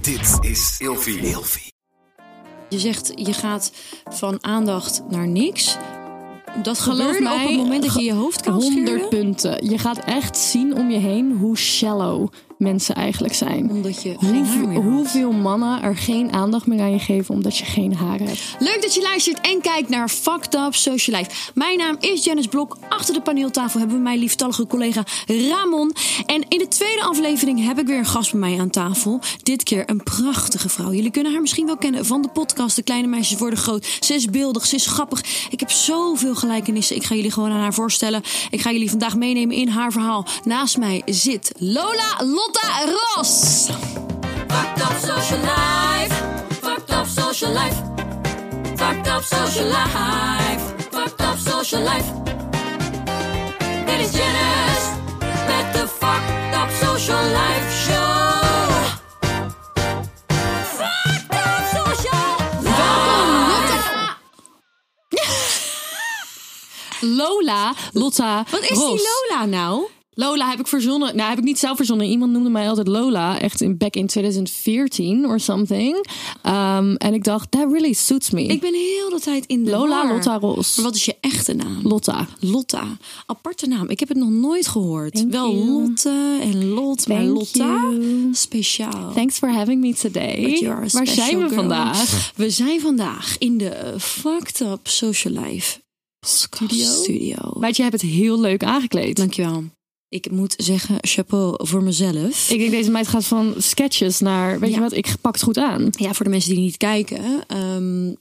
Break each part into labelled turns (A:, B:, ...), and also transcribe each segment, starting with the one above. A: Dit is Ilfie.
B: Je zegt, je gaat van aandacht naar niks. Dat gebeurde
C: mij,
B: op het moment dat je je hoofd kan
C: 100 punten. Je gaat echt zien om je heen hoe shallow mensen eigenlijk zijn.
B: Omdat je geen haar
C: Hoeveel,
B: meer had.
C: hoeveel mannen er geen aandacht meer aan je geven omdat je geen haren hebt.
B: Leuk dat je luistert en kijkt naar Fucked Up Social Life. Mijn naam is Janice Blok. Achter de paneeltafel hebben we mijn lieftallige collega Ramon. En in de tweede aflevering heb ik weer een gast bij mij aan tafel. Dit keer een prachtige vrouw. Jullie kunnen haar misschien wel kennen van de podcast De Kleine Meisjes Worden Groot. Ze is beeldig, ze is grappig. Ik heb zoveel gelijkenissen. Ik ga jullie gewoon aan haar voorstellen. Ik ga jullie vandaag meenemen in haar verhaal. Naast mij zit Lola Lotta Ros. Fucked Up Social Life. Fucked Up Social Life. Fucked up social life. Fucked up social life. Dit is Janice met de Fucked Up Social Life Show. Fucked Up Social Life.
C: Lola, Lotta,
B: Wat is
C: Ros.
B: die Lola nou?
C: Lola heb ik verzonnen. Nou, heb ik niet zelf verzonnen. Iemand noemde mij altijd Lola. Echt in, back in 2014 or something. Um, en ik dacht, that really suits me.
B: Ik ben heel de tijd in de
C: Lola
B: war.
C: Lotta Ros.
B: Maar wat is je echte naam?
C: Lotta.
B: Lotta. Aparte naam. Ik heb het nog nooit gehoord. Wel
C: you.
B: Lotte en Lot, maar
C: Thank
B: Lotta.
C: you.
B: Speciaal.
C: Thanks for having me today.
B: But you are a
C: Waar
B: special
C: zijn we
B: girl.
C: vandaag?
B: We zijn vandaag in de eh, Fucked Up Social Life studio. studio.
C: Want je hebt het heel leuk aangekleed.
B: Dankjewel. Ik moet zeggen, chapeau voor mezelf.
C: Ik denk, deze meid gaat van sketches naar, weet
B: Ja.
C: je wat, ik pak het goed aan.
B: Ja, voor de mensen die niet kijken. ehm,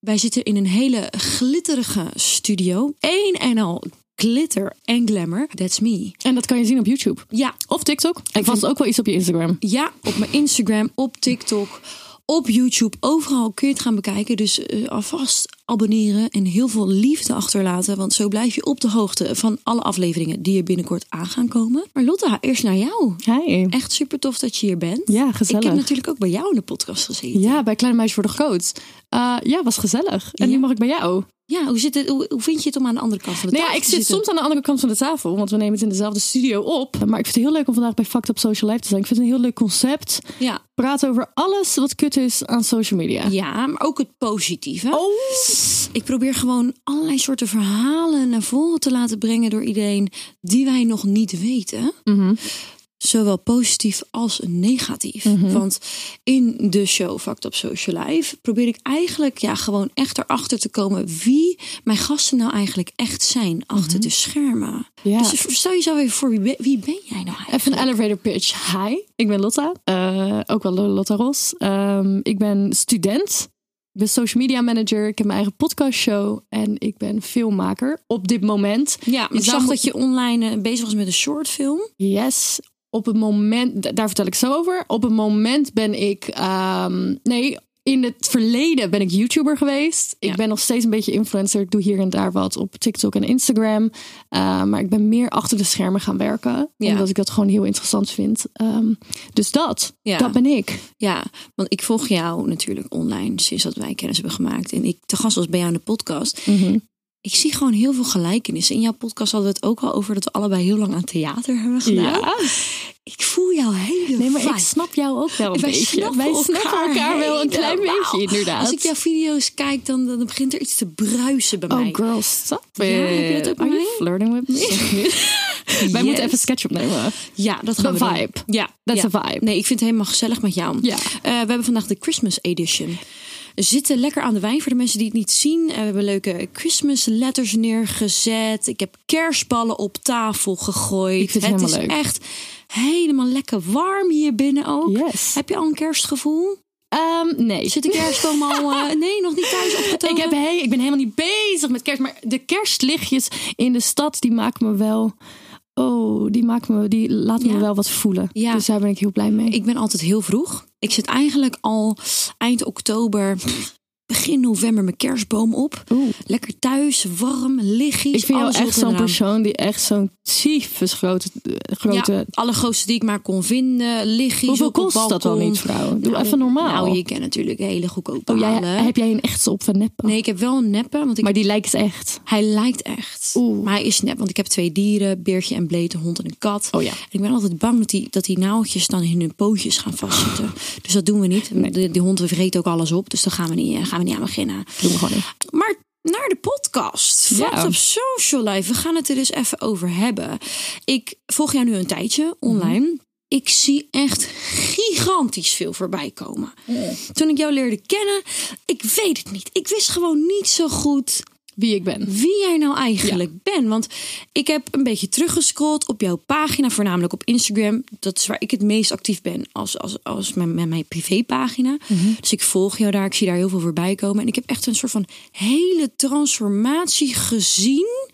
B: wij zitten in een hele glitterige studio. Eén en al glitter en glamour. That's me.
C: En dat kan je zien op YouTube.
B: Ja,
C: Of TikTok. En vast ook wel iets op je Instagram.
B: Ja, op mijn Instagram, op TikTok, op YouTube. Overal kun je het gaan bekijken. Dus eh, alvast abonneren en heel veel liefde achterlaten. Want zo blijf je op de hoogte van alle afleveringen die er binnenkort aan gaan komen. Maar Lotta, eerst naar jou.
C: Hi.
B: Echt super tof dat je hier bent.
C: Ja, gezellig.
B: Ik heb natuurlijk ook bij jou in de podcast gezeten.
C: Ja, bij Kleine Meisjes Worden Groot. Eh, ja, was gezellig. En nu
B: Ja.
C: mag ik bij jou.
B: Ja, hoe, zit het, hoe, hoe vind je het om aan de andere kant van de
C: Nou ja,
B: tafel
C: ik
B: te
C: zit
B: zitten?
C: soms aan de andere kant van de tafel, want we nemen het in dezelfde studio op. Maar ik vind het heel leuk om vandaag bij Fucked Up Social Life te zijn. Ik vind het een heel leuk concept.
B: Ja.
C: Praat over alles wat kut is aan social media.
B: ja, maar ook het positieve.
C: Oh,
B: Ik probeer gewoon allerlei soorten verhalen naar voren te laten brengen door iedereen die wij nog niet weten.
C: Mhm.
B: Zowel positief als negatief.
C: Mhm.
B: Want in de show Fact op Social Life probeer ik eigenlijk ja, gewoon echt erachter te komen wie mijn gasten nou eigenlijk echt zijn achter de schermen.
C: Mhm. Ja.
B: Dus stel jezelf even voor, wie ben, wie ben jij nou eigenlijk?
C: Even een elevator pitch. Hi, ik ben Lotta. Eh, ook wel Lotta Ros. Ehm, ik ben student. Ik ben social media manager. Ik heb mijn eigen podcastshow. En ik ben filmmaker op dit moment.
B: Ja,
C: Je
B: ik zag
C: zou-
B: dat je online eh, bezig was met een shortfilm.
C: Yes. Op het moment, d- daar vertel ik zo over. Op het moment ben ik, ehm, nee, in het verleden ben ik YouTuber geweest.
B: Ja.
C: Ik ben nog steeds een beetje influencer. Ik doe hier en daar wat op TikTok en Instagram. Eh, maar ik ben meer achter de schermen gaan werken.
B: Ja.
C: Omdat ik dat gewoon heel interessant vind. Ehm, dus dat,
B: Ja.
C: dat ben ik.
B: Ja, want ik volg jou natuurlijk online sinds dat wij kennis hebben gemaakt. En ik te gast was bij jou in de podcast.
C: Mhm.
B: Ik zie gewoon heel veel gelijkenissen. In jouw podcast hadden we het ook al over dat we allebei heel lang aan theater hebben gedaan. Ik voel jou hele
C: Nou, Nee, maar ik
B: vibe.
C: snap jou ook wel een
B: Wij
C: beetje.
B: snappen
C: Wij
B: elkaar,
C: snappen elkaar wel een klein
B: helemaal.
C: beetje, inderdaad.
B: Als ik jouw video's kijk, dan, dan begint er iets te bruisen bij mij.
C: Oh, girl, stop it.
B: Ja, heb je dat ook
C: Are
B: bij
C: you
B: mij?
C: flirting with me? Wij
B: Yes.
C: moeten even een sketch opnemen.
B: Ja, dat gaan
C: The
B: we doen.
C: vibe.
B: Ja,
C: That's
B: ja.
C: a vibe.
B: Nee, ik vind het helemaal gezellig met jou.
C: Ja.
B: Eh, we hebben vandaag de Christmas edition. We zitten lekker aan de wijn voor de mensen die het niet zien. Eh, we hebben leuke Christmas letters neergezet. Ik heb kerstballen op tafel gegooid.
C: Ik vind het
B: het is
C: helemaal leuk.
B: echt helemaal lekker warm hier binnen ook.
C: Yes.
B: Heb je al een kerstgevoel?
C: Ehm, nee.
B: Zit de kerstboom al? eh, nee, nog niet thuis opgetogen.
C: Ik, heb, hey, ik ben helemaal niet bezig met kerst. Maar de kerstlichtjes in de stad, die maken me wel... Oh, die, maken me, die laten
B: Ja.
C: me wel wat voelen.
B: Ja.
C: Dus daar ben ik heel blij mee.
B: Ik ben altijd heel vroeg. Ik zit eigenlijk al eind oktober begin november mijn kerstboom op.
C: Oeh.
B: Lekker thuis, warm, liggies.
C: Ik vind jou
B: alles
C: echt
B: erop en
C: zo'n
B: eraan.
C: persoon die echt zo'n tyfus grote... grote
B: Ja, alle grootste die ik maar kon vinden, liggies
C: eh, Hoeveel
B: op het
C: kost dat dan
B: balkon.
C: niet, vrouw? Doe
B: Nou,
C: even normaal.
B: Nou, je kent natuurlijk hele goedkope
C: oh, jij,
B: halen.
C: heb jij een echtse op van neppen?
B: Nee, ik heb wel een neppe, want ik,
C: Maar die lijkt het echt.
B: hij lijkt echt.
C: Oeh.
B: Maar hij is nep, want ik heb twee dieren, Beertje en Bleet, een hond en een kat.
C: Oh ja.
B: En ik ben altijd bang dat die, dat die naaltjes dan in hun pootjes gaan vastzitten. Dus dat doen we niet. De, die hond vreet ook alles op, dus daar gaan we niet, eh, gaan we niet aan beginnen.
C: Doe me gewoon niet.
B: Maar naar de podcast.
C: Ja.
B: Fact op social life. We gaan het er eens even over hebben. Ik volg jou nu een tijdje online. Ik zie echt gigantisch veel voorbij komen. Toen ik jou leerde kennen, ik weet het niet. Ik wist gewoon niet zo goed
C: Wie ik ben.
B: wie jij nou eigenlijk bent. Want ik heb een beetje teruggescrollt op jouw pagina, voornamelijk op Instagram. Dat is waar ik het meest actief ben als, als, als mijn, mijn, mijn privépagina.
C: Mhm.
B: Dus ik volg jou daar, ik zie daar heel veel voorbij komen. En ik heb echt een soort van hele transformatie gezien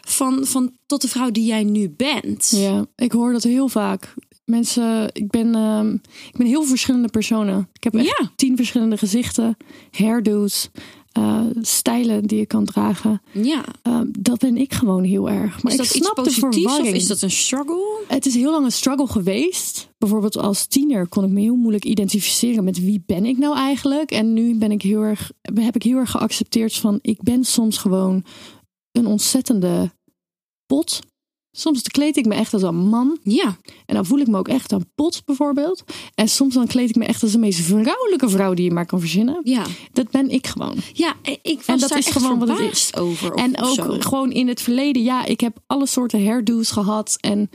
B: van, van tot de vrouw die jij nu bent.
C: Ja, ik hoor dat heel vaak. Mensen, ik ben, ehm, ik ben heel veel verschillende personen. Ik heb echt
B: Ja.
C: tien verschillende gezichten, hairdo's, eh, stijlen die je kan dragen.
B: Ja.
C: Ehm, dat ben ik gewoon heel erg.
B: Is
C: Maar ik
B: dat iets
C: snap de
B: positiefs of
C: verwarring.
B: is dat een struggle?
C: Het is heel lang een struggle geweest. Bijvoorbeeld als tiener kon ik me heel moeilijk identificeren met wie ben ik nou eigenlijk. En nu ben ik heel erg, heb ik heel erg geaccepteerd van ik ben soms gewoon een ontzettende pot. Soms kleed ik me echt als een man.
B: Ja.
C: En dan voel ik me ook echt een pot bijvoorbeeld. En soms dan kleed ik me echt als de meest vrouwelijke vrouw die je maar kan verzinnen.
B: Ja,
C: Dat ben ik gewoon.
B: ja en ik was
C: En dat
B: daar
C: is
B: echt
C: gewoon wat het is.
B: verbaasd over. of-
C: En
B: of
C: ook
B: zo.
C: gewoon in het verleden, ja, ik heb alle soorten hairdo's gehad. En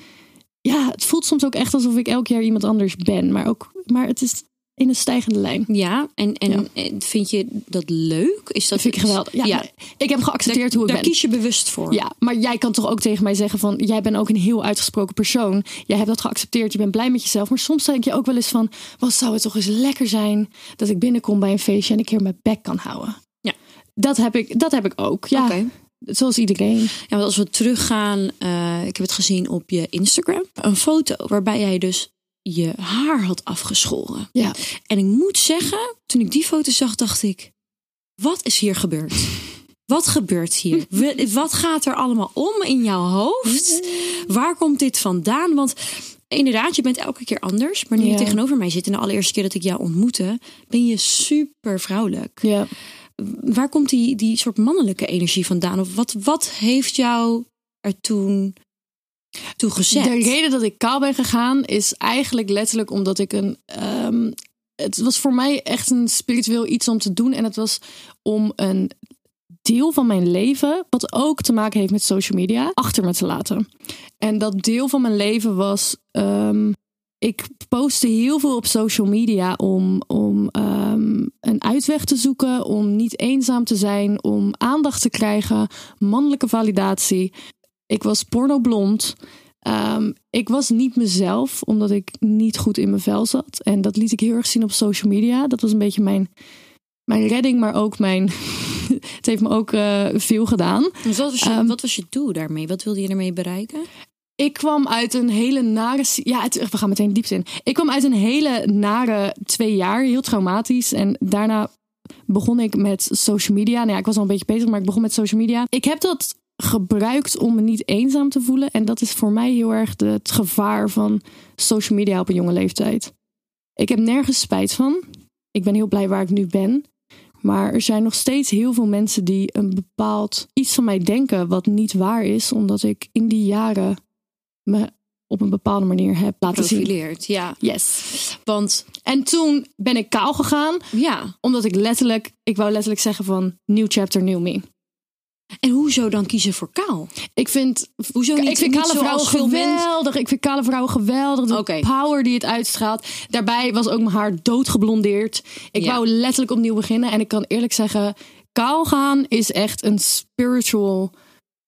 C: ja, het voelt soms ook echt alsof ik elk jaar iemand anders ben. Maar, ook, maar het is in een stijgende lijn.
B: Ja, en, en
C: Ja.
B: eh, vind je dat leuk? Is dat
C: Dat vind ik geweldig. Ja, maar Ik heb geaccepteerd
B: daar,
C: hoe ik
B: daar
C: ben.
B: kies je bewust voor.
C: Ja, maar jij kan toch ook tegen mij zeggen van... jij bent ook een heel uitgesproken persoon. Jij hebt dat geaccepteerd, je bent blij met jezelf. Maar soms denk je ook wel eens van... wat zou het toch eens lekker zijn dat ik binnenkom bij een feestje... en ik hier mijn bek kan houden.
B: Ja.
C: Dat heb ik, dat heb ik ook, ja.
B: Oké.
C: Zoals iedereen.
B: Ja, want als we teruggaan, eh, ik heb het gezien op je Instagram, een foto waarbij jij dus je haar had afgeschoren.
C: Ja.
B: En ik moet zeggen, toen ik die foto zag, dacht ik: wat is hier gebeurd? Wat gebeurt hier? We- Wat gaat er allemaal om in jouw hoofd? Waar komt dit vandaan? Want inderdaad, je bent elke keer anders. Maar nu je
C: Ja.
B: tegenover mij zit en de allereerste keer dat ik jou ontmoette, ben je super vrouwelijk.
C: ja.
B: Waar komt die, die soort mannelijke energie vandaan? Of wat, wat heeft jou er toen toe gezet?
C: De reden dat ik kaal ben gegaan is eigenlijk letterlijk omdat ik een. ehm, het was voor mij echt een spiritueel iets om te doen. En het was om een deel van mijn leven, wat ook te maken heeft met social media, achter me te laten. En dat deel van mijn leven was. ehm, ik postte heel veel op social media om, om ehm, een uitweg te zoeken, om niet eenzaam te zijn, om aandacht te krijgen, mannelijke validatie. Ik was pornoblond. Ehm, ik was niet mezelf, omdat ik niet goed in mijn vel zat. En dat liet ik heel erg zien op social media. Dat was een beetje mijn, mijn redding, maar ook mijn. het heeft me ook eh, veel gedaan.
B: Dus wat, was je,
C: Ehm,
B: wat was je doel daarmee? Wat wilde je ermee bereiken?
C: Ik kwam uit een hele nare. si- Ja, het, we gaan meteen de diepte in. Ik kwam uit een hele nare twee jaar, heel traumatisch. En daarna begon ik met social media. Nou ja, ik was al een beetje bezig, maar ik begon met social media. Ik heb dat gebruikt om me niet eenzaam te voelen. En dat is voor mij heel erg de- het gevaar van social media op een jonge leeftijd. Ik heb nergens spijt van. Ik ben heel blij waar ik nu ben. Maar er zijn nog steeds heel veel mensen die een bepaald iets van mij denken wat niet waar is, omdat ik in die jaren me op een bepaalde manier heb laten zien.
B: Profileerd, ja.
C: Yes.
B: Want
C: En toen ben ik kaal gegaan
B: ja.
C: omdat ik letterlijk, ik wou letterlijk zeggen van nieuw chapter, nieuw me.
B: En hoezo dan kiezen voor kaal?
C: Ik vind,
B: Hoezo niet,
C: ik vind
B: niet
C: kale vrouwen
B: zoals veel mensen?
C: geweldig. Ik vind kale vrouwen geweldig. De
B: Oké.
C: power die het uitstraalt. Daarbij was ook mijn haar doodgeblondeerd. Ik
B: Ja.
C: wou letterlijk opnieuw beginnen. En ik kan eerlijk zeggen, kaal gaan is echt een spiritual...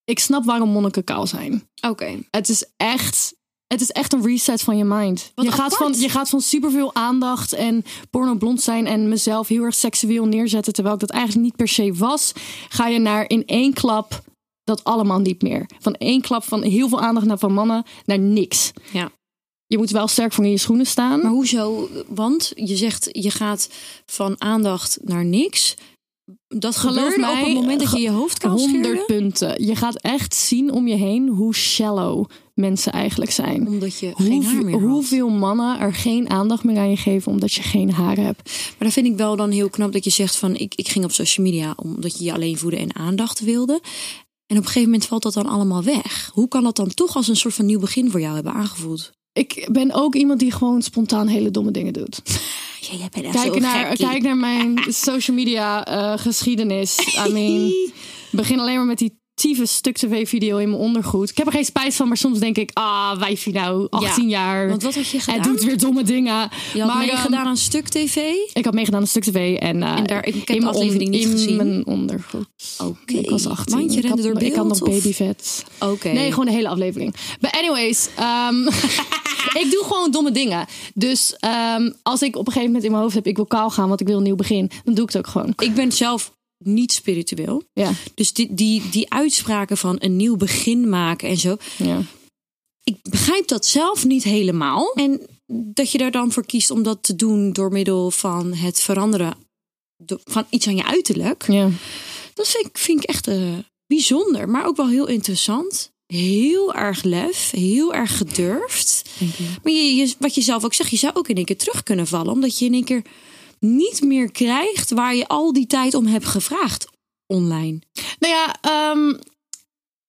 C: Ik snap waarom monniken kaal zijn.
B: Oké.
C: Het is echt. Het is echt een reset van je mind.
B: Wat
C: Je gaat,
B: apart.
C: van, je gaat van superveel aandacht en porno blond zijn en mezelf heel erg seksueel neerzetten, terwijl ik dat eigenlijk niet per se was. Ga je naar in één klap dat allemaal niet meer. Van één klap van heel veel aandacht naar van mannen naar niks.
B: Ja.
C: Je moet wel sterk voor in je schoenen staan.
B: Maar hoezo? Want je zegt je gaat van aandacht naar niks. Dat
C: Geloof
B: gebeurde
C: mij,
B: op het moment dat je je hoofd kan
C: 100
B: scheurde.
C: punten. Je gaat echt zien om je heen hoe shallow mensen eigenlijk zijn.
B: Omdat je geen haar
C: Hoeveel,
B: meer had.
C: hoeveel mannen er geen aandacht meer aan je geven omdat je geen haar hebt.
B: Maar dat vind ik wel dan heel knap dat je zegt van ik, ik ging op social media omdat je je alleen voeden en aandacht wilde. En op een gegeven moment valt dat dan allemaal weg. Hoe kan dat dan toch als een soort van nieuw begin voor jou hebben aangevoeld?
C: Ik ben ook iemand die gewoon spontaan hele domme dingen doet.
B: Ja, jij bent echt
C: Kijk
B: zo'n
C: naar,
B: gekkie.
C: kijk naar mijn social media eh, geschiedenis. I mean, begin alleen maar met die tieve stuk tv-video in mijn ondergoed. Ik heb er geen spijt van, maar soms denk ik... Ah, wijfie nou, 18 jaar.
B: Want wat had je gedaan?
C: Hij doet weer domme dingen.
B: Je had
C: maar, ehm,
B: meegedaan aan stuk tv.
C: Ik had meegedaan aan stuk tv en, eh,
B: En daar- ik heb
C: in
B: de
C: mijn on-
B: aflevering niet
C: in
B: gezien.
C: mijn ondergoed.
B: Oké.
C: Ik was 18.
B: Want je
C: ik,
B: rende
C: had,
B: door beeld.
C: ik had nog
B: of-
C: babyvet.
B: Oké.
C: Nee, gewoon de hele aflevering. But anyways, ehm, ik doe gewoon domme dingen. Dus ehm, als ik op een gegeven moment in mijn hoofd heb... ik wil kaal gaan, want ik wil een nieuw begin... dan doe ik het ook gewoon.
B: Ik ben zelf niet spiritueel.
C: Ja,
B: Dus die, die, die uitspraken van een nieuw begin maken en zo.
C: ja.
B: Ik begrijp dat zelf niet helemaal. En dat je daar dan voor kiest om dat te doen door middel van het veranderen do- van iets aan je uiterlijk.
C: ja.
B: Dat vind ik, vind ik echt eh, bijzonder, maar ook wel heel interessant. Heel erg lef, heel erg gedurfd. Maar je, je- wat je zelf ook zegt, je zou ook in één keer terug kunnen vallen. Omdat je in één keer niet meer krijgt waar je al die tijd om hebt gevraagd online.
C: Nou ja, ehm,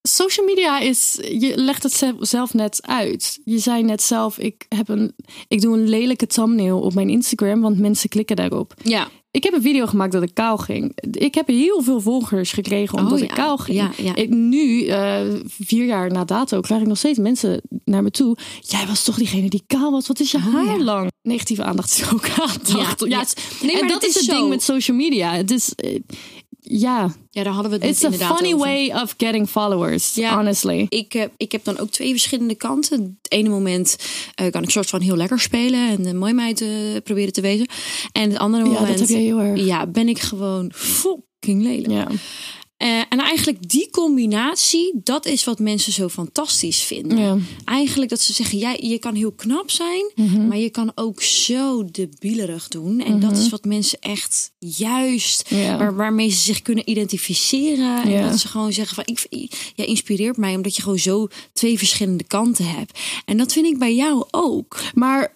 C: social media is. Je legt het ze- zelf net uit. Je zei net zelf: ik, heb een, ik doe een lelijke thumbnail op mijn Instagram, want mensen klikken daarop.
B: Ja,
C: Ik heb een video gemaakt dat ik kaal ging. Ik heb heel veel volgers gekregen omdat
B: Oh,
C: ik
B: ja.
C: kaal ging.
B: Ja, ja.
C: Ik, nu, eh, vier jaar na dato, krijg ik nog steeds mensen naar me toe. Jij was toch diegene die kaal was? Wat is je haar
B: Oh, ja.
C: lang? Negatieve aandacht is ook aandacht.
B: Ja,
C: Ja,
B: ja.
C: het is-
B: Nee,
C: en
B: maar
C: dat
B: het
C: is
B: is
C: het
B: zo.
C: ding met social media. Het is, eh, ja,
B: ja daar hadden we het
C: It's
B: net
C: a
B: inderdaad
C: funny
B: over.
C: way of getting followers,
B: Ja.
C: honestly.
B: Ik heb, ik heb dan ook twee verschillende kanten. Het ene moment eh, kan ik soort van heel lekker spelen en een mooi meid eh, proberen te wezen. En het andere
C: Ja,
B: moment
C: dat heb jij heel erg.
B: ja, ben ik gewoon fucking lelijk.
C: Ja.
B: Eh, en eigenlijk die combinatie, dat is wat mensen zo fantastisch vinden.
C: Ja.
B: Eigenlijk dat ze zeggen, jij, je kan heel knap zijn, maar je kan ook zo debielerig doen. En dat is wat mensen echt juist,
C: Ja.
B: waar, waarmee ze zich kunnen identificeren. En
C: Ja.
B: dat ze gewoon zeggen van, ik, ik- jij inspireert mij omdat je gewoon zo twee verschillende kanten hebt. En dat vind ik bij jou ook.
C: Maar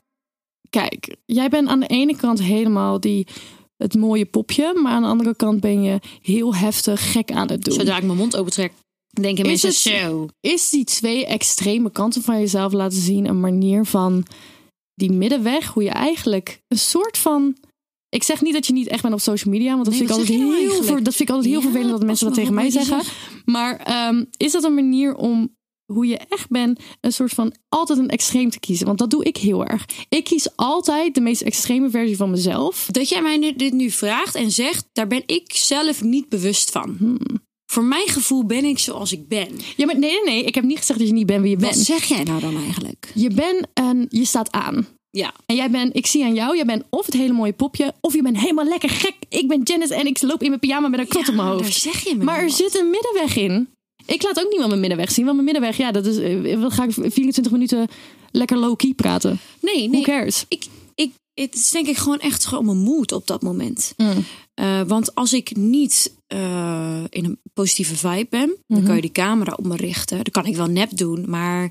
C: kijk, jij bent aan de ene kant helemaal die, het mooie popje. Maar aan de andere kant ben je heel heftig gek aan het doen.
B: Zodra ik mijn mond opentrek, denken
C: Is
B: mensen
C: het-
B: zo.
C: Is die twee extreme kanten van jezelf laten zien een manier van die middenweg? Hoe je eigenlijk een soort van... Ik zeg niet dat je niet echt bent op social media, want dat,
B: Nee,
C: vind, ik
B: wat zeg
C: altijd
B: je nou
C: heel
B: eigenlijk?
C: ver- dat vind ik altijd heel
B: Ja,
C: vervelend dat
B: pas
C: mensen dat
B: maar
C: tegen
B: op
C: mij
B: wat je
C: zeggen. Maar ehm, is dat een manier om hoe je echt bent, een soort van altijd een extreem te kiezen? Want dat doe ik heel erg. Ik kies altijd de meest extreme versie van mezelf.
B: Dat jij mij nu- dit nu vraagt en zegt, daar ben ik zelf niet bewust van. Hmm. Voor mijn gevoel ben ik zoals ik ben.
C: Ja, maar nee, nee, nee. Ik heb niet gezegd dat je niet bent wie je
B: Wat
C: bent.
B: zeg jij nou dan eigenlijk?
C: Je bent en je staat aan.
B: Ja.
C: En jij bent, ik zie aan jou, jij bent of het hele mooie popje, of je bent helemaal lekker gek. Ik ben Janice en ik loop in mijn pyjama met een krot
B: Ja,
C: op mijn hoofd.
B: daar zeg je me
C: maar
B: nou
C: er
B: wat.
C: zit een middenweg in. Ik laat ook niemand mijn middenweg zien, want mijn middenweg, ja, dat is, eh, wat ga ik 24 minuten lekker low-key praten.
B: Nee,
C: Who
B: nee.
C: cares?
B: Dus Ik, ik, het is denk ik gewoon echt gewoon mijn moed op dat moment. Eh, want als ik niet eh, in een positieve vibe ben, dan kan je die camera op me richten. Dat kan ik wel nep doen, maar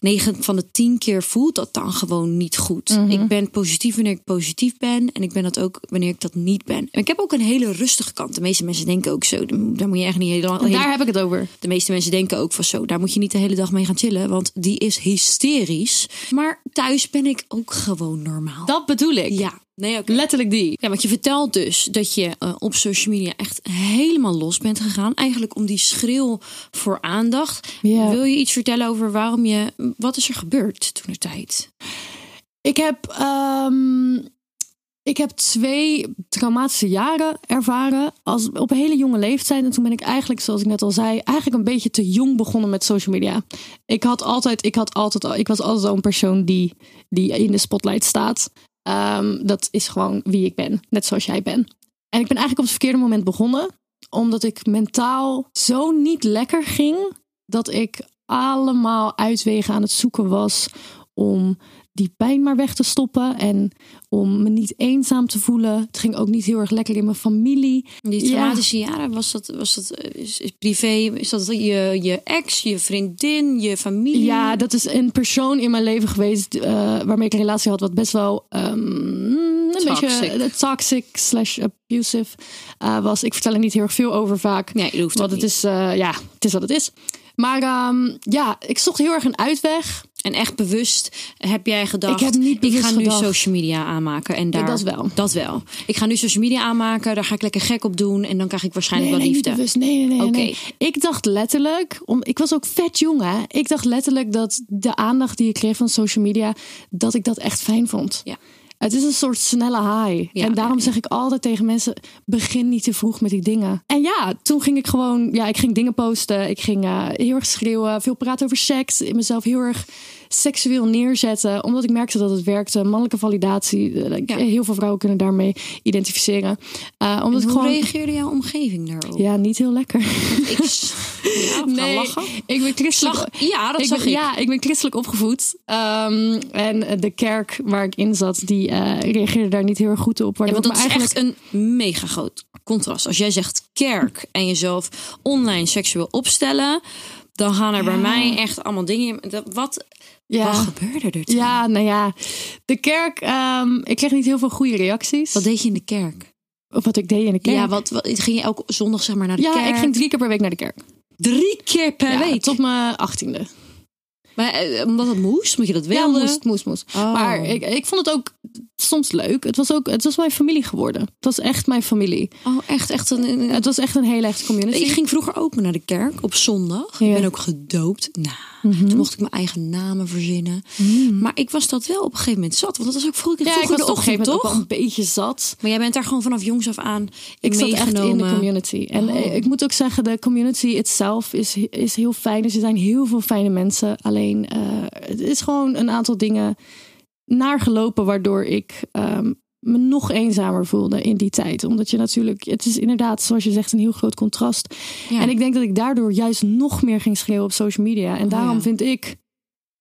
B: 9 van de 10 keer voelt dat dan gewoon niet goed. Ik ben positief wanneer ik positief ben en ik ben dat ook wanneer ik dat niet ben. En ik heb ook een hele rustige kant. De meeste mensen denken ook zo, daar moet je echt niet heel lang...
C: Daar heb ik het over.
B: De meeste mensen denken ook van zo, daar moet je niet de hele dag mee gaan chillen, want die is hysterisch. Maar thuis ben ik ook gewoon normaal.
C: Dat bedoel ik.
B: Ja, nee, oké.
C: Letterlijk die.
B: Ja, want je vertelt dus dat je eh, op social media echt helemaal los bent gegaan. Eigenlijk om die schreeuw voor aandacht.
C: Ja.
B: Wil je iets vertellen over waarom je. Wat is er gebeurd toen de tijd?
C: Ik heb, ehm, ik heb twee traumatische jaren ervaren als, op een hele jonge leeftijd. En toen ben ik eigenlijk, zoals ik net al zei, eigenlijk een beetje te jong begonnen met social media. Ik, had altijd, ik, had altijd, al- ik was altijd al een persoon die, die in de spotlight staat. Ehm, dat is gewoon wie ik ben, net zoals jij bent. En ik ben eigenlijk op het verkeerde moment begonnen, omdat ik mentaal zo niet lekker ging dat ik allemaal uitwegen aan het zoeken was om die pijn maar weg te stoppen en om me niet eenzaam te voelen. Het ging ook niet heel erg lekker in mijn familie.
B: Die
C: Ja.
B: traumatische jaren, was dat, was dat eh, is, is privé? Is dat je, je ex, je vriendin, je familie?
C: Ja, dat is een persoon in mijn leven geweest eh, waarmee ik een relatie had, wat best wel ehm, een
B: Toxic.
C: beetje eh, toxic slash abusive eh, was. Ik vertel er niet heel erg veel over vaak.
B: Nee, dat hoeft ook
C: Want het
B: niet.
C: is, eh, ja, het is wat het is. Maar ehm, ja, ik zocht heel erg een uitweg.
B: En echt bewust heb jij gedacht...
C: Ik heb niet bewust
B: Ik ga nu
C: gedacht.
B: social media aanmaken. En daar,
C: dat wel.
B: Dat wel. Ik ga nu social media aanmaken. Daar ga ik lekker gek op doen. En dan krijg ik waarschijnlijk wel
C: niet
B: liefde.
C: bewust. Nee, nee, nee.
B: Oké.
C: nee. Ik dacht letterlijk, om, ik was ook vet jong hè. Ik dacht letterlijk dat de aandacht die ik kreeg van social media, dat ik dat echt fijn vond.
B: Ja.
C: Het is een soort snelle high.
B: Ja,
C: en
B: ja,
C: daarom
B: ja.
C: zeg ik altijd tegen mensen: begin niet te vroeg met die dingen. En ja, toen ging ik gewoon, ja, ik ging dingen posten. Ik ging eh, heel erg schreeuwen, veel praten over seks. in Mezelf heel erg seksueel neerzetten, omdat ik merkte dat het werkte. Mannelijke validatie, eh,
B: Ja.
C: heel veel vrouwen kunnen daarmee identificeren. Eh, omdat ik
B: Hoe
C: gewoon.
B: reageerde jouw omgeving daarop?
C: Ja, niet heel lekker.
B: Ik s- ja, nee. lachen.
C: ik ben christelijk.
B: Slag- ja, dat
C: ik
B: zag
C: ben,
B: ik.
C: Ja, ik ben christelijk opgevoed. Ehm, en de kerk waar ik in zat, die eh, reageerde daar niet heel erg goed op.
B: Ja,
C: waardoor
B: want
C: ik
B: dat
C: me
B: is
C: eigenlijk
B: echt een mega groot contrast. Als jij zegt kerk en jezelf online seksueel opstellen, dan gaan er bij mij echt allemaal dingen in. dat- Wat,
C: Ja.
B: wat gebeurde er? toen?
C: Ja, nou ja. De kerk, ehm, ik kreeg niet heel veel goede reacties.
B: Wat deed je in de kerk?
C: op wat ik deed in de kerk.
B: Ja, wat, wat- ging je elke zondag zeg maar naar de
C: Ja,
B: kerk?
C: ik ging drie keer per week naar de kerk.
B: drie keer per
C: Ja,
B: week.
C: Tot mijn achttiende.
B: Maar, eh, omdat het moest, moet je dat
C: Ja,
B: wilde.
C: moest, moest, moest.
B: Oh.
C: Maar ik, ik vond het ook soms leuk. Het was ook, het was mijn familie geworden. Het was echt mijn familie.
B: Oh, echt, echt een, een-
C: Het was echt een hele echte community.
B: Ik ging vroeger ook naar de kerk op zondag.
C: Dus Ja. Mhm.
B: Ik ben ook gedoopt. Nou, Toen mocht ik mijn eigen namen verzinnen. Maar ik was dat wel op een gegeven moment zat. Want dat was ook vroeger,
C: ja, ik
B: vroeger
C: was
B: de
C: op een
B: ochtend,
C: gegeven moment
B: toch?
C: ook wel een beetje zat.
B: Maar jij bent daar gewoon vanaf jongs af aan
C: Ik zat
B: meegenomen. Oh.
C: echt in de community. En eh, ik moet ook zeggen, de community itself is, is heel fijn. Dus er zijn heel veel fijne mensen. Alleen eh, het is gewoon een aantal dingen naargelopen waardoor ik ehm, me nog eenzamer voelde in die tijd. Omdat je natuurlijk, het is inderdaad, zoals je zegt, een heel groot contrast.
B: Ja.
C: En ik denk dat ik daardoor juist nog meer ging schreeuwen op social media. En daarom
B: Oh, ja.
C: vind ik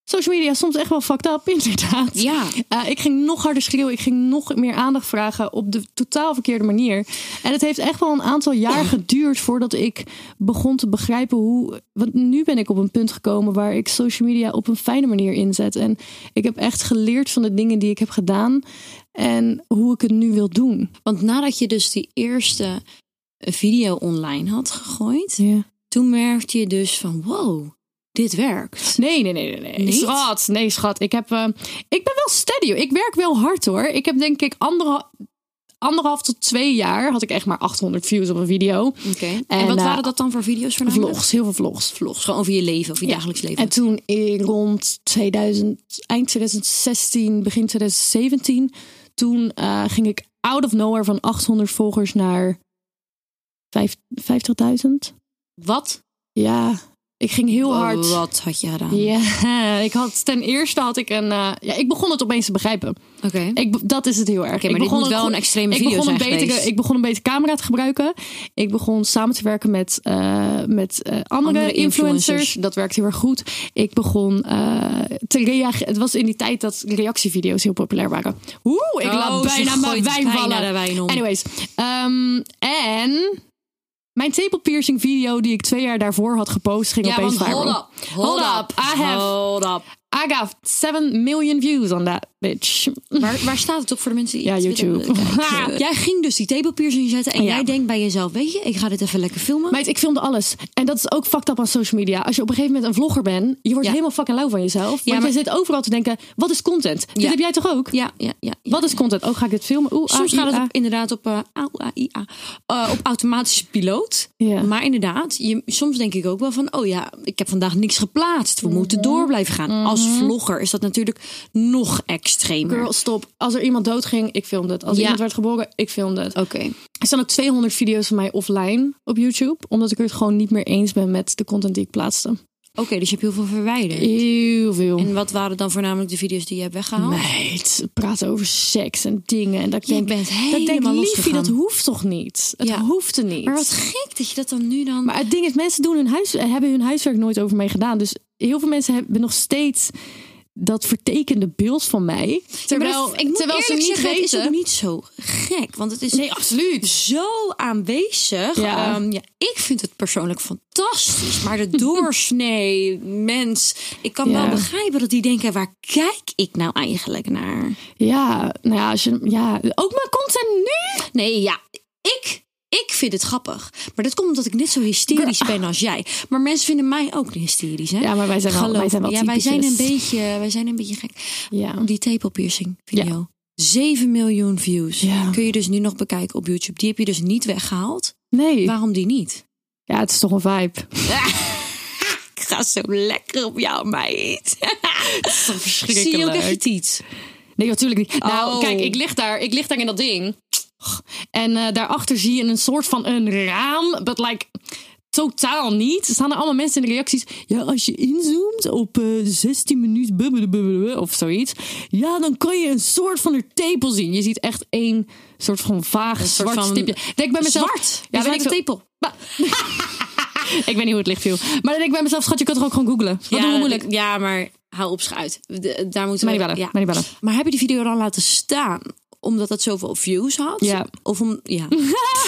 C: social media soms echt wel fucked up, inderdaad.
B: Ja.
C: Eh, ik ging nog harder schreeuwen. Ik ging nog meer aandacht vragen op de totaal verkeerde manier. En het heeft echt wel een aantal jaar geduurd voordat ik begon te begrijpen hoe. Want nu ben ik op een punt gekomen waar ik social media op een fijne manier inzet. En ik heb echt geleerd van de dingen die ik heb gedaan en hoe ik het nu wil doen.
B: Want nadat je dus die eerste video online had gegooid, toen merkte je dus van wow, dit werkt.
C: Nee, nee, nee, nee, nee.
B: Niet?
C: Schat, nee, schat. Ik, heb, eh, ik ben wel steady. hoor. Ik werk wel hard hoor. Ik heb denk ik anderha- anderhalf tot twee jaar had ik echt maar 800 views op een video.
B: Oké. En, wat
C: eh,
B: waren dat dan voor video's voornamelijk?
C: Vlogs, heel veel vlogs.
B: Vlogs, gewoon over je leven, over je dagelijks leven.
C: En toen in rond 2000, eind 2016, begin 2017, toen eh, ging ik out of nowhere van 800 volgers naar vijf- 50.000.
B: wat?
C: Ja, ik ging
B: Oh,
C: heel hard.
B: Wat had je gedaan?
C: Ja, ik had ten eerste had ik een. eh, ja, ik begon het opeens te begrijpen.
B: Oké.
C: Ik, be- dat is het heel erg.
B: Oké, maar
C: ik
B: dit
C: begon
B: moet wel
C: go-
B: een extreme
C: ik
B: video
C: begon een
B: zijn
C: betere,
B: geweest.
C: Ik begon een betere camera te gebruiken. Ik begon samen te werken met, eh, met eh, andere,
B: Andere
C: influencers.
B: influencers.
C: Dat werkte heel erg goed. Ik begon eh, te reageren. Het was in die tijd dat reactievideo's heel populair waren. Oeh, ik
B: Oh,
C: laat
B: ze
C: bijna mijn
B: gooit
C: wijn
B: bijna
C: vallen.
B: de wijn om.
C: Anyways. ehm, en... Mijn tepel piercing video die ik twee jaar daarvoor had gepost ging
B: ja,
C: opeens
B: want
C: viral.
B: hold up. Hold up.
C: I have
B: Hold up.
C: I got 7 million views on that bitch.
B: Waar, waar staat het op voor de mensen die
C: Ja,
B: iets
C: YouTube.
B: willen bekijken? jij ging dus die tepelpiercing zetten en
C: Ja.
B: jij denkt bij jezelf, weet je, ik ga dit even lekker filmen.
C: Meid, ik filmde alles. En dat is ook fucked up aan social media. Als je op een gegeven moment een vlogger bent, je wordt
B: Ja.
C: helemaal fucking lauw van jezelf. want
B: maar-
C: je zit overal te denken, wat is content? Dit
B: Ja.
C: heb jij toch ook?
B: ja, ja, ja. ja.
C: Wat is content? Oh, ga ik dit filmen? Oeh,
B: Soms
C: ah,
B: gaat het
C: ah.
B: op, inderdaad op, eh, au, ah, i, ah, eh, op automatische piloot.
C: Ja.
B: Maar inderdaad, je, soms denk ik ook wel van... oh ja, ik heb vandaag niks geplaatst. We moeten door blijven gaan. Als vlogger is dat natuurlijk nog extremer.
C: Girl, stop. Als er iemand doodging, ik filmde het. Als
B: Ja.
C: iemand werd geboren, ik filmde het.
B: Oké.
C: Er staan ook 200 video's van mij offline op YouTube. Omdat ik het gewoon niet meer eens ben met de content die ik plaatste.
B: Oké, dus je hebt heel veel verwijderd.
C: Heel veel.
B: En wat waren dan voornamelijk de video's die je hebt weggehaald?
C: Meid, praten over seks en dingen. En dat ik
B: Je
C: denk,
B: bent
C: dat ik denk
B: helemaal
C: liefie,
B: losgegaan.
C: dat hoeft toch niet? Het
B: Ja.
C: hoeft er niet.
B: Maar wat gek dat je dat dan nu dan...
C: Maar het ding is, mensen doen hun huis, hebben hun huiswerk nooit over mij gedaan. Dus heel veel mensen hebben nog steeds dat vertekende beeld van mij.
B: maar
C: Terwijl,
B: dat- ik moet
C: terwijl ze
B: eerlijk
C: niet
B: zeggen, het
C: weten.
B: is ook niet zo gek. Want het is
C: Nee, absoluut.
B: zo aanwezig.
C: Ja.
B: Ehm, ja, ik vind het persoonlijk fantastisch. Maar de doorsnee mens. Ik kan
C: Ja.
B: wel begrijpen dat die denken: waar kijk ik nou eigenlijk naar?
C: Ja, nou ja, als je, ja, ook mijn content nu.
B: Nee, ja, ik. Ik vind het grappig. Maar dat komt omdat ik net zo hysterisch ben als jij. Maar mensen vinden mij ook hysterisch, hè?
C: Ja, maar wij zijn wel,
B: Geloof
C: wij zijn wel
B: me. Ja, wij zijn, een
C: typetjes.
B: beetje, wij zijn een beetje gek.
C: Ja.
B: Die tepelpiercing video. 7 miljoen views.
C: Ja.
B: Kun je dus nu nog bekijken op YouTube. Die heb je dus niet weggehaald.
C: Nee,
B: Waarom die niet?
C: ja, het is toch een vibe.
B: Ik ga zo lekker op jou, meid. Zie je ook
C: Verschrikkelijk.
B: echt je tiet?
C: Nee, natuurlijk niet. Nou,
B: Oh.
C: kijk, ik lig, daar, ik lig daar in dat ding. En eh, daarachter zie je een soort van een raam. But like, totaal niet. Er staan er allemaal mensen in de reacties. Ja, als je inzoomt op eh, 16 minuten bubbelen, bubbelen of zoiets. Ja, dan kan je een soort van een tepel zien. Je ziet echt één soort van vaag
B: soort
C: zwart
B: van
C: stipje. Denk bij mezelf.
B: Zwart?
C: Ja,
B: Ja,
C: weet
B: ben
C: ik
B: ik een
C: veel.
B: tepel?
C: Ik weet niet hoe het licht viel. Maar dan denk ik bij mezelf, schat, je kan toch ook gewoon googlen. Wat doen we moeilijk?
B: Ja, maar hou op schuit. De- Daar moeten
C: Maar
B: we...
C: niet bellen,
B: ja.
C: maar niet bellen.
B: Maar heb je die video dan laten staan? Omdat dat zoveel views had?
C: Ja.
B: Of om... Ja.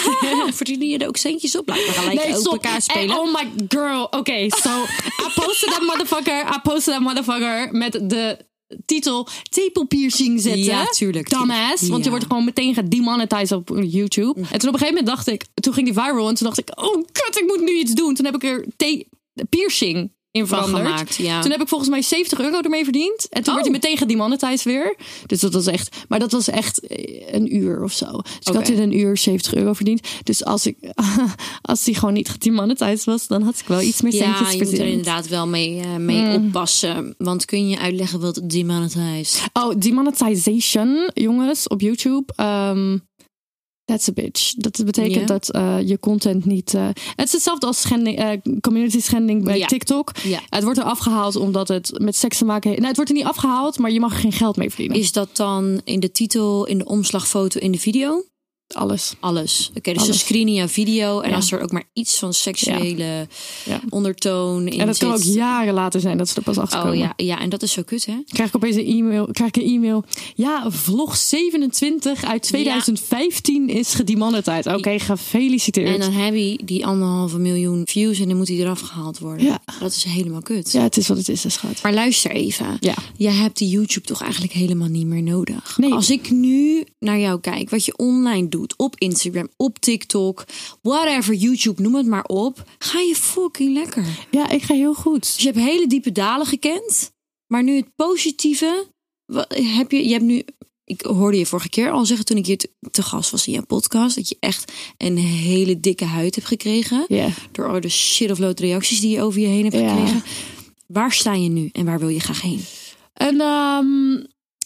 B: Verdienen je er ook centjes op? Laten we gelijk
C: Nee,
B: op
C: stop.
B: elkaar spelen.
C: Eh, oh my girl. Oké, so I posted that motherfucker. I posted that motherfucker met de titel tepelpiercing zetten.
B: Ja, tuurlijk,
C: Dumbass.
B: tuurlijk.
C: Want je
B: Ja. Mm.
C: wordt gewoon meteen gedemonetized op YouTube. En toen op een gegeven moment dacht ik, toen ging die viral en toen dacht ik, oh kut, ik moet nu iets doen. Toen heb ik er te- piercing
B: Van
C: in veranderd.
B: gemaakt, ja.
C: Toen heb ik volgens mij 70 euro ermee verdiend. En
B: Oh.
C: toen werd hij meteen gedemonetized weer. Dus dat was echt, maar dat was echt eh, een uur of zo. Dus ik
B: Oké.
C: had in een uur 70 euro verdiend. Dus als ik, als die gewoon niet gedemonetized was, dan had ik wel iets meer
B: Ja,
C: centjes Hmm.
B: je moet er
C: verdiend.
B: inderdaad wel mee, eh, mee oppassen. Want kun je uitleggen wat demonetized?
C: Oh, demonetization, jongens, op YouTube. ehm, that's a bitch. Dat betekent
B: Ja.
C: dat eh, je content niet... eh, het is hetzelfde als schending, eh, community schending bij
B: Ja.
C: TikTok.
B: Ja.
C: Het wordt er afgehaald omdat het met seks te maken heeft. Nou, het wordt er niet afgehaald, maar je mag er geen geld mee verdienen.
B: Is dat dan in de titel, in de omslagfoto, in de video?
C: Alles.
B: Alles. Oké, dus ze
C: Alles.
B: screenen jouw video. En
C: Ja.
B: als er ook maar iets van seksuele
C: Ja.
B: ondertoon in
C: En dat kan ook
B: zit-
C: jaren later zijn dat ze er pas achter komen.
B: Oh ja, ja, en dat is zo kut, hè?
C: Krijg ik opeens een e-mail. Krijg ik een e-mail. Ja, vlog 27 uit 2015 is gedemonetized. Oké, gefeliciteerd.
B: En eh, dan heb je die anderhalve miljoen views en dan moet die eraf gehaald worden.
C: Ja.
B: Dat is helemaal kut.
C: ja, het is wat het is, hè, schat.
B: Maar luister even.
C: Ja.
B: Jij hebt die YouTube toch eigenlijk helemaal niet meer nodig.
C: Nee.
B: Als ik nu naar jou kijk, wat je online doet, op Instagram, op TikTok, whatever, YouTube, noem het maar op, ga je fucking lekker.
C: Ja, ik ga heel goed.
B: Dus je hebt hele diepe dalen gekend, maar nu het positieve, wa- heb je, je hebt nu, ik hoorde je vorige keer al zeggen toen ik hier te, te gast was in je podcast, dat je echt een hele dikke huid hebt gekregen.
C: Ja.
B: Door al de shit of load reacties die je over je heen hebt
C: Ja.
B: gekregen. Waar sta je nu en waar wil je graag heen?
C: En ehm,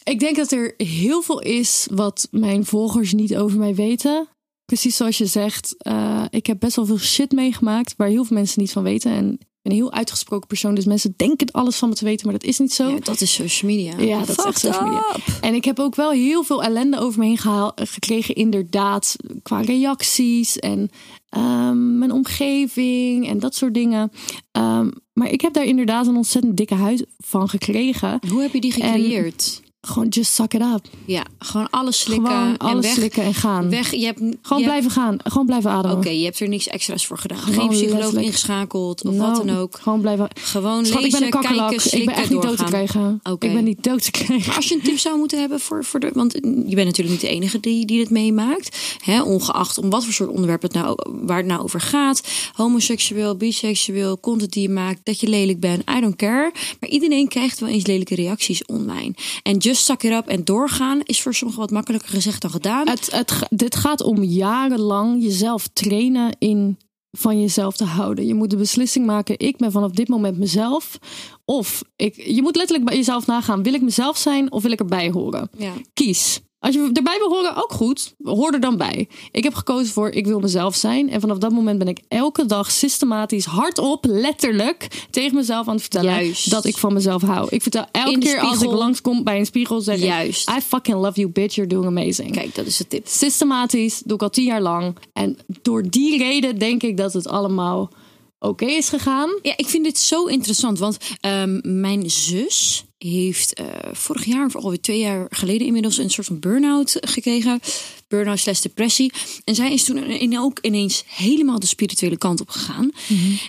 C: ik denk dat er heel veel is wat mijn volgers niet over mij weten. Precies zoals je zegt, eh, ik heb best wel veel shit meegemaakt waar heel veel mensen niet van weten. En ik ben een heel uitgesproken persoon, dus mensen denken alles van me te weten, maar dat is niet zo.
B: Ja, dat is social media.
C: Ja, dat is echt social media. En ik heb ook wel heel veel ellende over me heen gehaal, gekregen, inderdaad, qua reacties en ehm, mijn omgeving en dat soort dingen. Ehm, maar ik heb daar inderdaad een ontzettend dikke huid van gekregen.
B: Hoe heb je die gecreëerd?
C: Gewoon just suck it up.
B: Ja, gewoon alles slikken
C: Gewoon
B: en
C: alles
B: weg.
C: slikken en gaan.
B: weg. Je hebt
C: Gewoon
B: je hebt-
C: blijven gaan. Gewoon blijven ademen.
B: Oké, je hebt er niks extra's voor gedaan.
C: Gewoon
B: Geen psycholoog
C: letterlijk. Nou,
B: ingeschakeld of
C: No,
B: wat dan ook.
C: Gewoon blijven.
B: Gewoon
C: Schat,
B: lezen,
C: ik ben een kakkerlak.
B: kijken,
C: Ik
B: slikken,
C: ben echt niet dood te
B: doorgaan.
C: krijgen.
B: Oké.
C: Ik ben niet dood te krijgen.
B: Maar als je een tip zou moeten hebben voor, voor de. Want je bent natuurlijk niet de enige die, die dit meemaakt. Hè, ongeacht om wat voor soort onderwerp het nou, waar het nou over gaat. Homoseksueel, biseksueel, content die je maakt, dat je lelijk bent. I don't care. Maar iedereen krijgt wel eens lelijke reacties online. En just suck it up en doorgaan is voor sommigen wat makkelijker gezegd dan gedaan.
C: Het, het, ga- dit gaat om jarenlang jezelf trainen in van jezelf te houden. Je moet de beslissing maken: ik ben vanaf dit moment mezelf. Of ik, je moet letterlijk bij jezelf nagaan: wil ik mezelf zijn of wil ik erbij horen?
B: Ja.
C: Kies. Als je erbij wil horen, ook goed. Hoor er dan bij. Ik heb gekozen voor ik wil mezelf zijn. En vanaf dat moment ben ik elke dag systematisch hardop, letterlijk, tegen mezelf aan het vertellen
B: Juist.
C: dat ik van mezelf hou. Ik vertel elke
B: In de
C: keer als ik
B: spiegel.
C: langskom bij een spiegel, zeg
B: Juist.
C: ik... I fucking love you, bitch. You're doing amazing.
B: Kijk, dat is de tip.
C: Systematisch doe ik al tien jaar lang. En door die reden denk ik dat het allemaal oké is gegaan.
B: Ja, ik vind dit zo interessant, want ehm, mijn zus heeft eh, vorig jaar, of alweer twee jaar geleden inmiddels, een soort van burn-out gekregen. Burn-out slash depressie. En zij is toen in, ook ineens helemaal de spirituele kant op gegaan.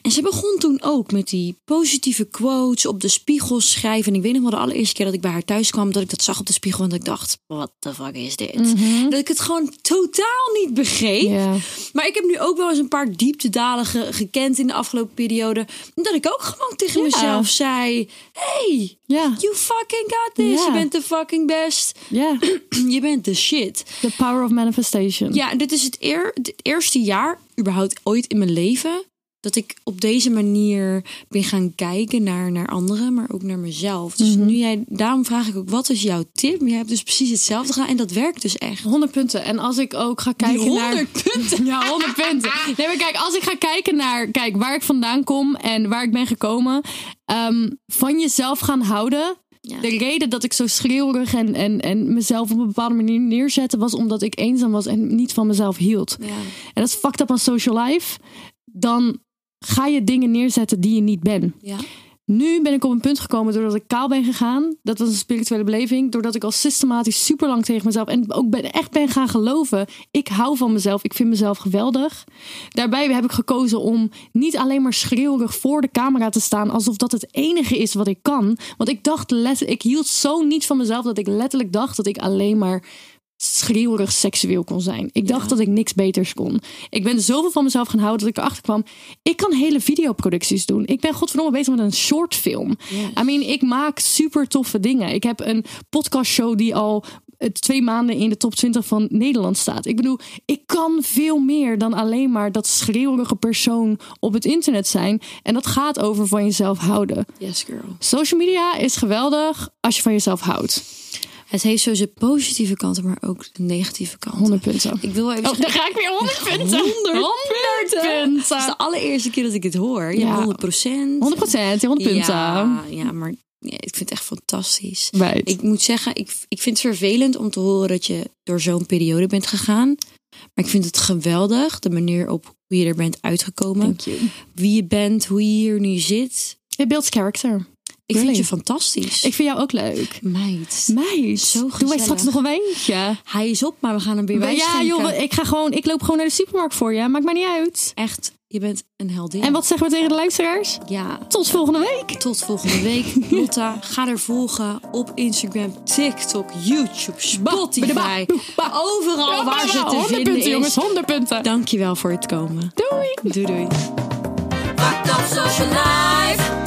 B: En ze begon toen ook met die positieve quotes op de spiegel schrijven. En ik weet nog wel de allereerste keer dat ik bij haar thuis kwam, dat ik dat zag op de spiegel. En dat ik dacht, what the fuck is dit? Dat ik het gewoon totaal niet begreep.
C: Ja.
B: Maar ik heb nu ook wel eens een paar dieptedalen ge- gekend in de afgelopen periode. Dat ik ook gewoon tegen
C: Ja.
B: mezelf zei: Hey,
C: Ja.
B: you fucking got this.
C: Ja.
B: Je bent de fucking best.
C: Ja.
B: Je bent de shit.
C: The power of manifestation.
B: Ja, dit is het, eer, het eerste jaar, überhaupt ooit in mijn leven, dat ik op deze manier ben gaan kijken naar, naar anderen, maar ook naar mezelf. Dus nu jij, daarom vraag ik ook: wat is jouw tip? Maar Jij hebt dus precies hetzelfde gedaan en dat werkt dus echt.
C: 100 punten. En als ik ook ga kijken naar.
B: 100 punten.
C: Ja, 100 punten. Nee, maar kijk, als ik ga kijken naar kijk, waar ik vandaan kom en waar ik ben gekomen. ehm, van jezelf gaan houden.
B: Ja.
C: De reden dat ik zo schreeuwerig en, en, en mezelf op een bepaalde manier neerzette... was omdat ik eenzaam was en niet van mezelf hield.
B: Ja.
C: En dat is fucked up aan social life. Dan ga je dingen neerzetten die je niet bent.
B: Ja.
C: Nu ben ik op een punt gekomen doordat ik kaal ben gegaan. Dat was een spirituele beleving. Doordat ik al systematisch super lang tegen mezelf en ook ben, echt ben gaan geloven. Ik hou van mezelf. Ik vind mezelf geweldig. Daarbij heb ik gekozen om niet alleen maar schreeuwerig voor de camera te staan. Alsof dat het enige is wat ik kan. Want ik dacht letterlijk, ik hield zo niet van mezelf dat ik letterlijk dacht dat ik alleen maar schreeuwerig seksueel kon zijn. Ik dacht dat ik niks beters kon. Ik ben zoveel van mezelf gaan houden dat ik erachter kwam. Ik kan hele videoproducties doen. Ik ben godverdomme bezig met een shortfilm. I mean, ik maak super toffe dingen. Ik heb een podcastshow die al eh, twee maanden in de top 20 van Nederland staat. Ik bedoel, ik kan veel meer dan alleen maar dat schreeuwerige persoon op het internet zijn. En dat gaat over van jezelf houden.
B: Yes, girl.
C: Social media is geweldig als je van jezelf houdt.
B: Het heeft zo zijn positieve kanten, maar ook de negatieve kanten.
C: 100 punten.
B: Ik wil even
C: Oh, daar ga ik weer 100 punten. 100 punten.
B: Het is de allereerste keer dat ik dit hoor. Ja,
C: Ja.
B: 100 procent.
C: 100 procent, 100 punten.
B: Ja, ja, maar ja, ik vind het echt fantastisch.
C: Right.
B: Ik moet zeggen, ik, ik vind het vervelend om te horen dat je door zo'n periode bent gegaan. Maar ik vind het geweldig, de manier op hoe je er bent uitgekomen.
C: Thank you.
B: Wie je bent, hoe je hier nu zit.
C: Je builds character.
B: Ik
C: Really?
B: vind je fantastisch.
C: Ik vind jou ook leuk.
B: Meid,
C: Meid,
B: Zo
C: doe wij
B: gezellig.
C: straks nog een wijntje.
B: hij is op, maar we gaan hem weer bij
C: Ja, joh, ik, ga gewoon, ik loop gewoon naar de supermarkt voor je. Maakt mij niet uit.
B: Echt, je bent een heldin.
C: En wat zeggen we tegen de luisteraars?
B: Ja,
C: Tot volgende week.
B: tot volgende week. Lotta, ga er volgen op Instagram, TikTok, YouTube, Spotify. Overal waar ze te
C: 100
B: vinden
C: punten, jongens.
B: is.
C: 100 punten.
B: Dankjewel voor het komen.
C: Doei.
B: Doei doei. Fucked up social life.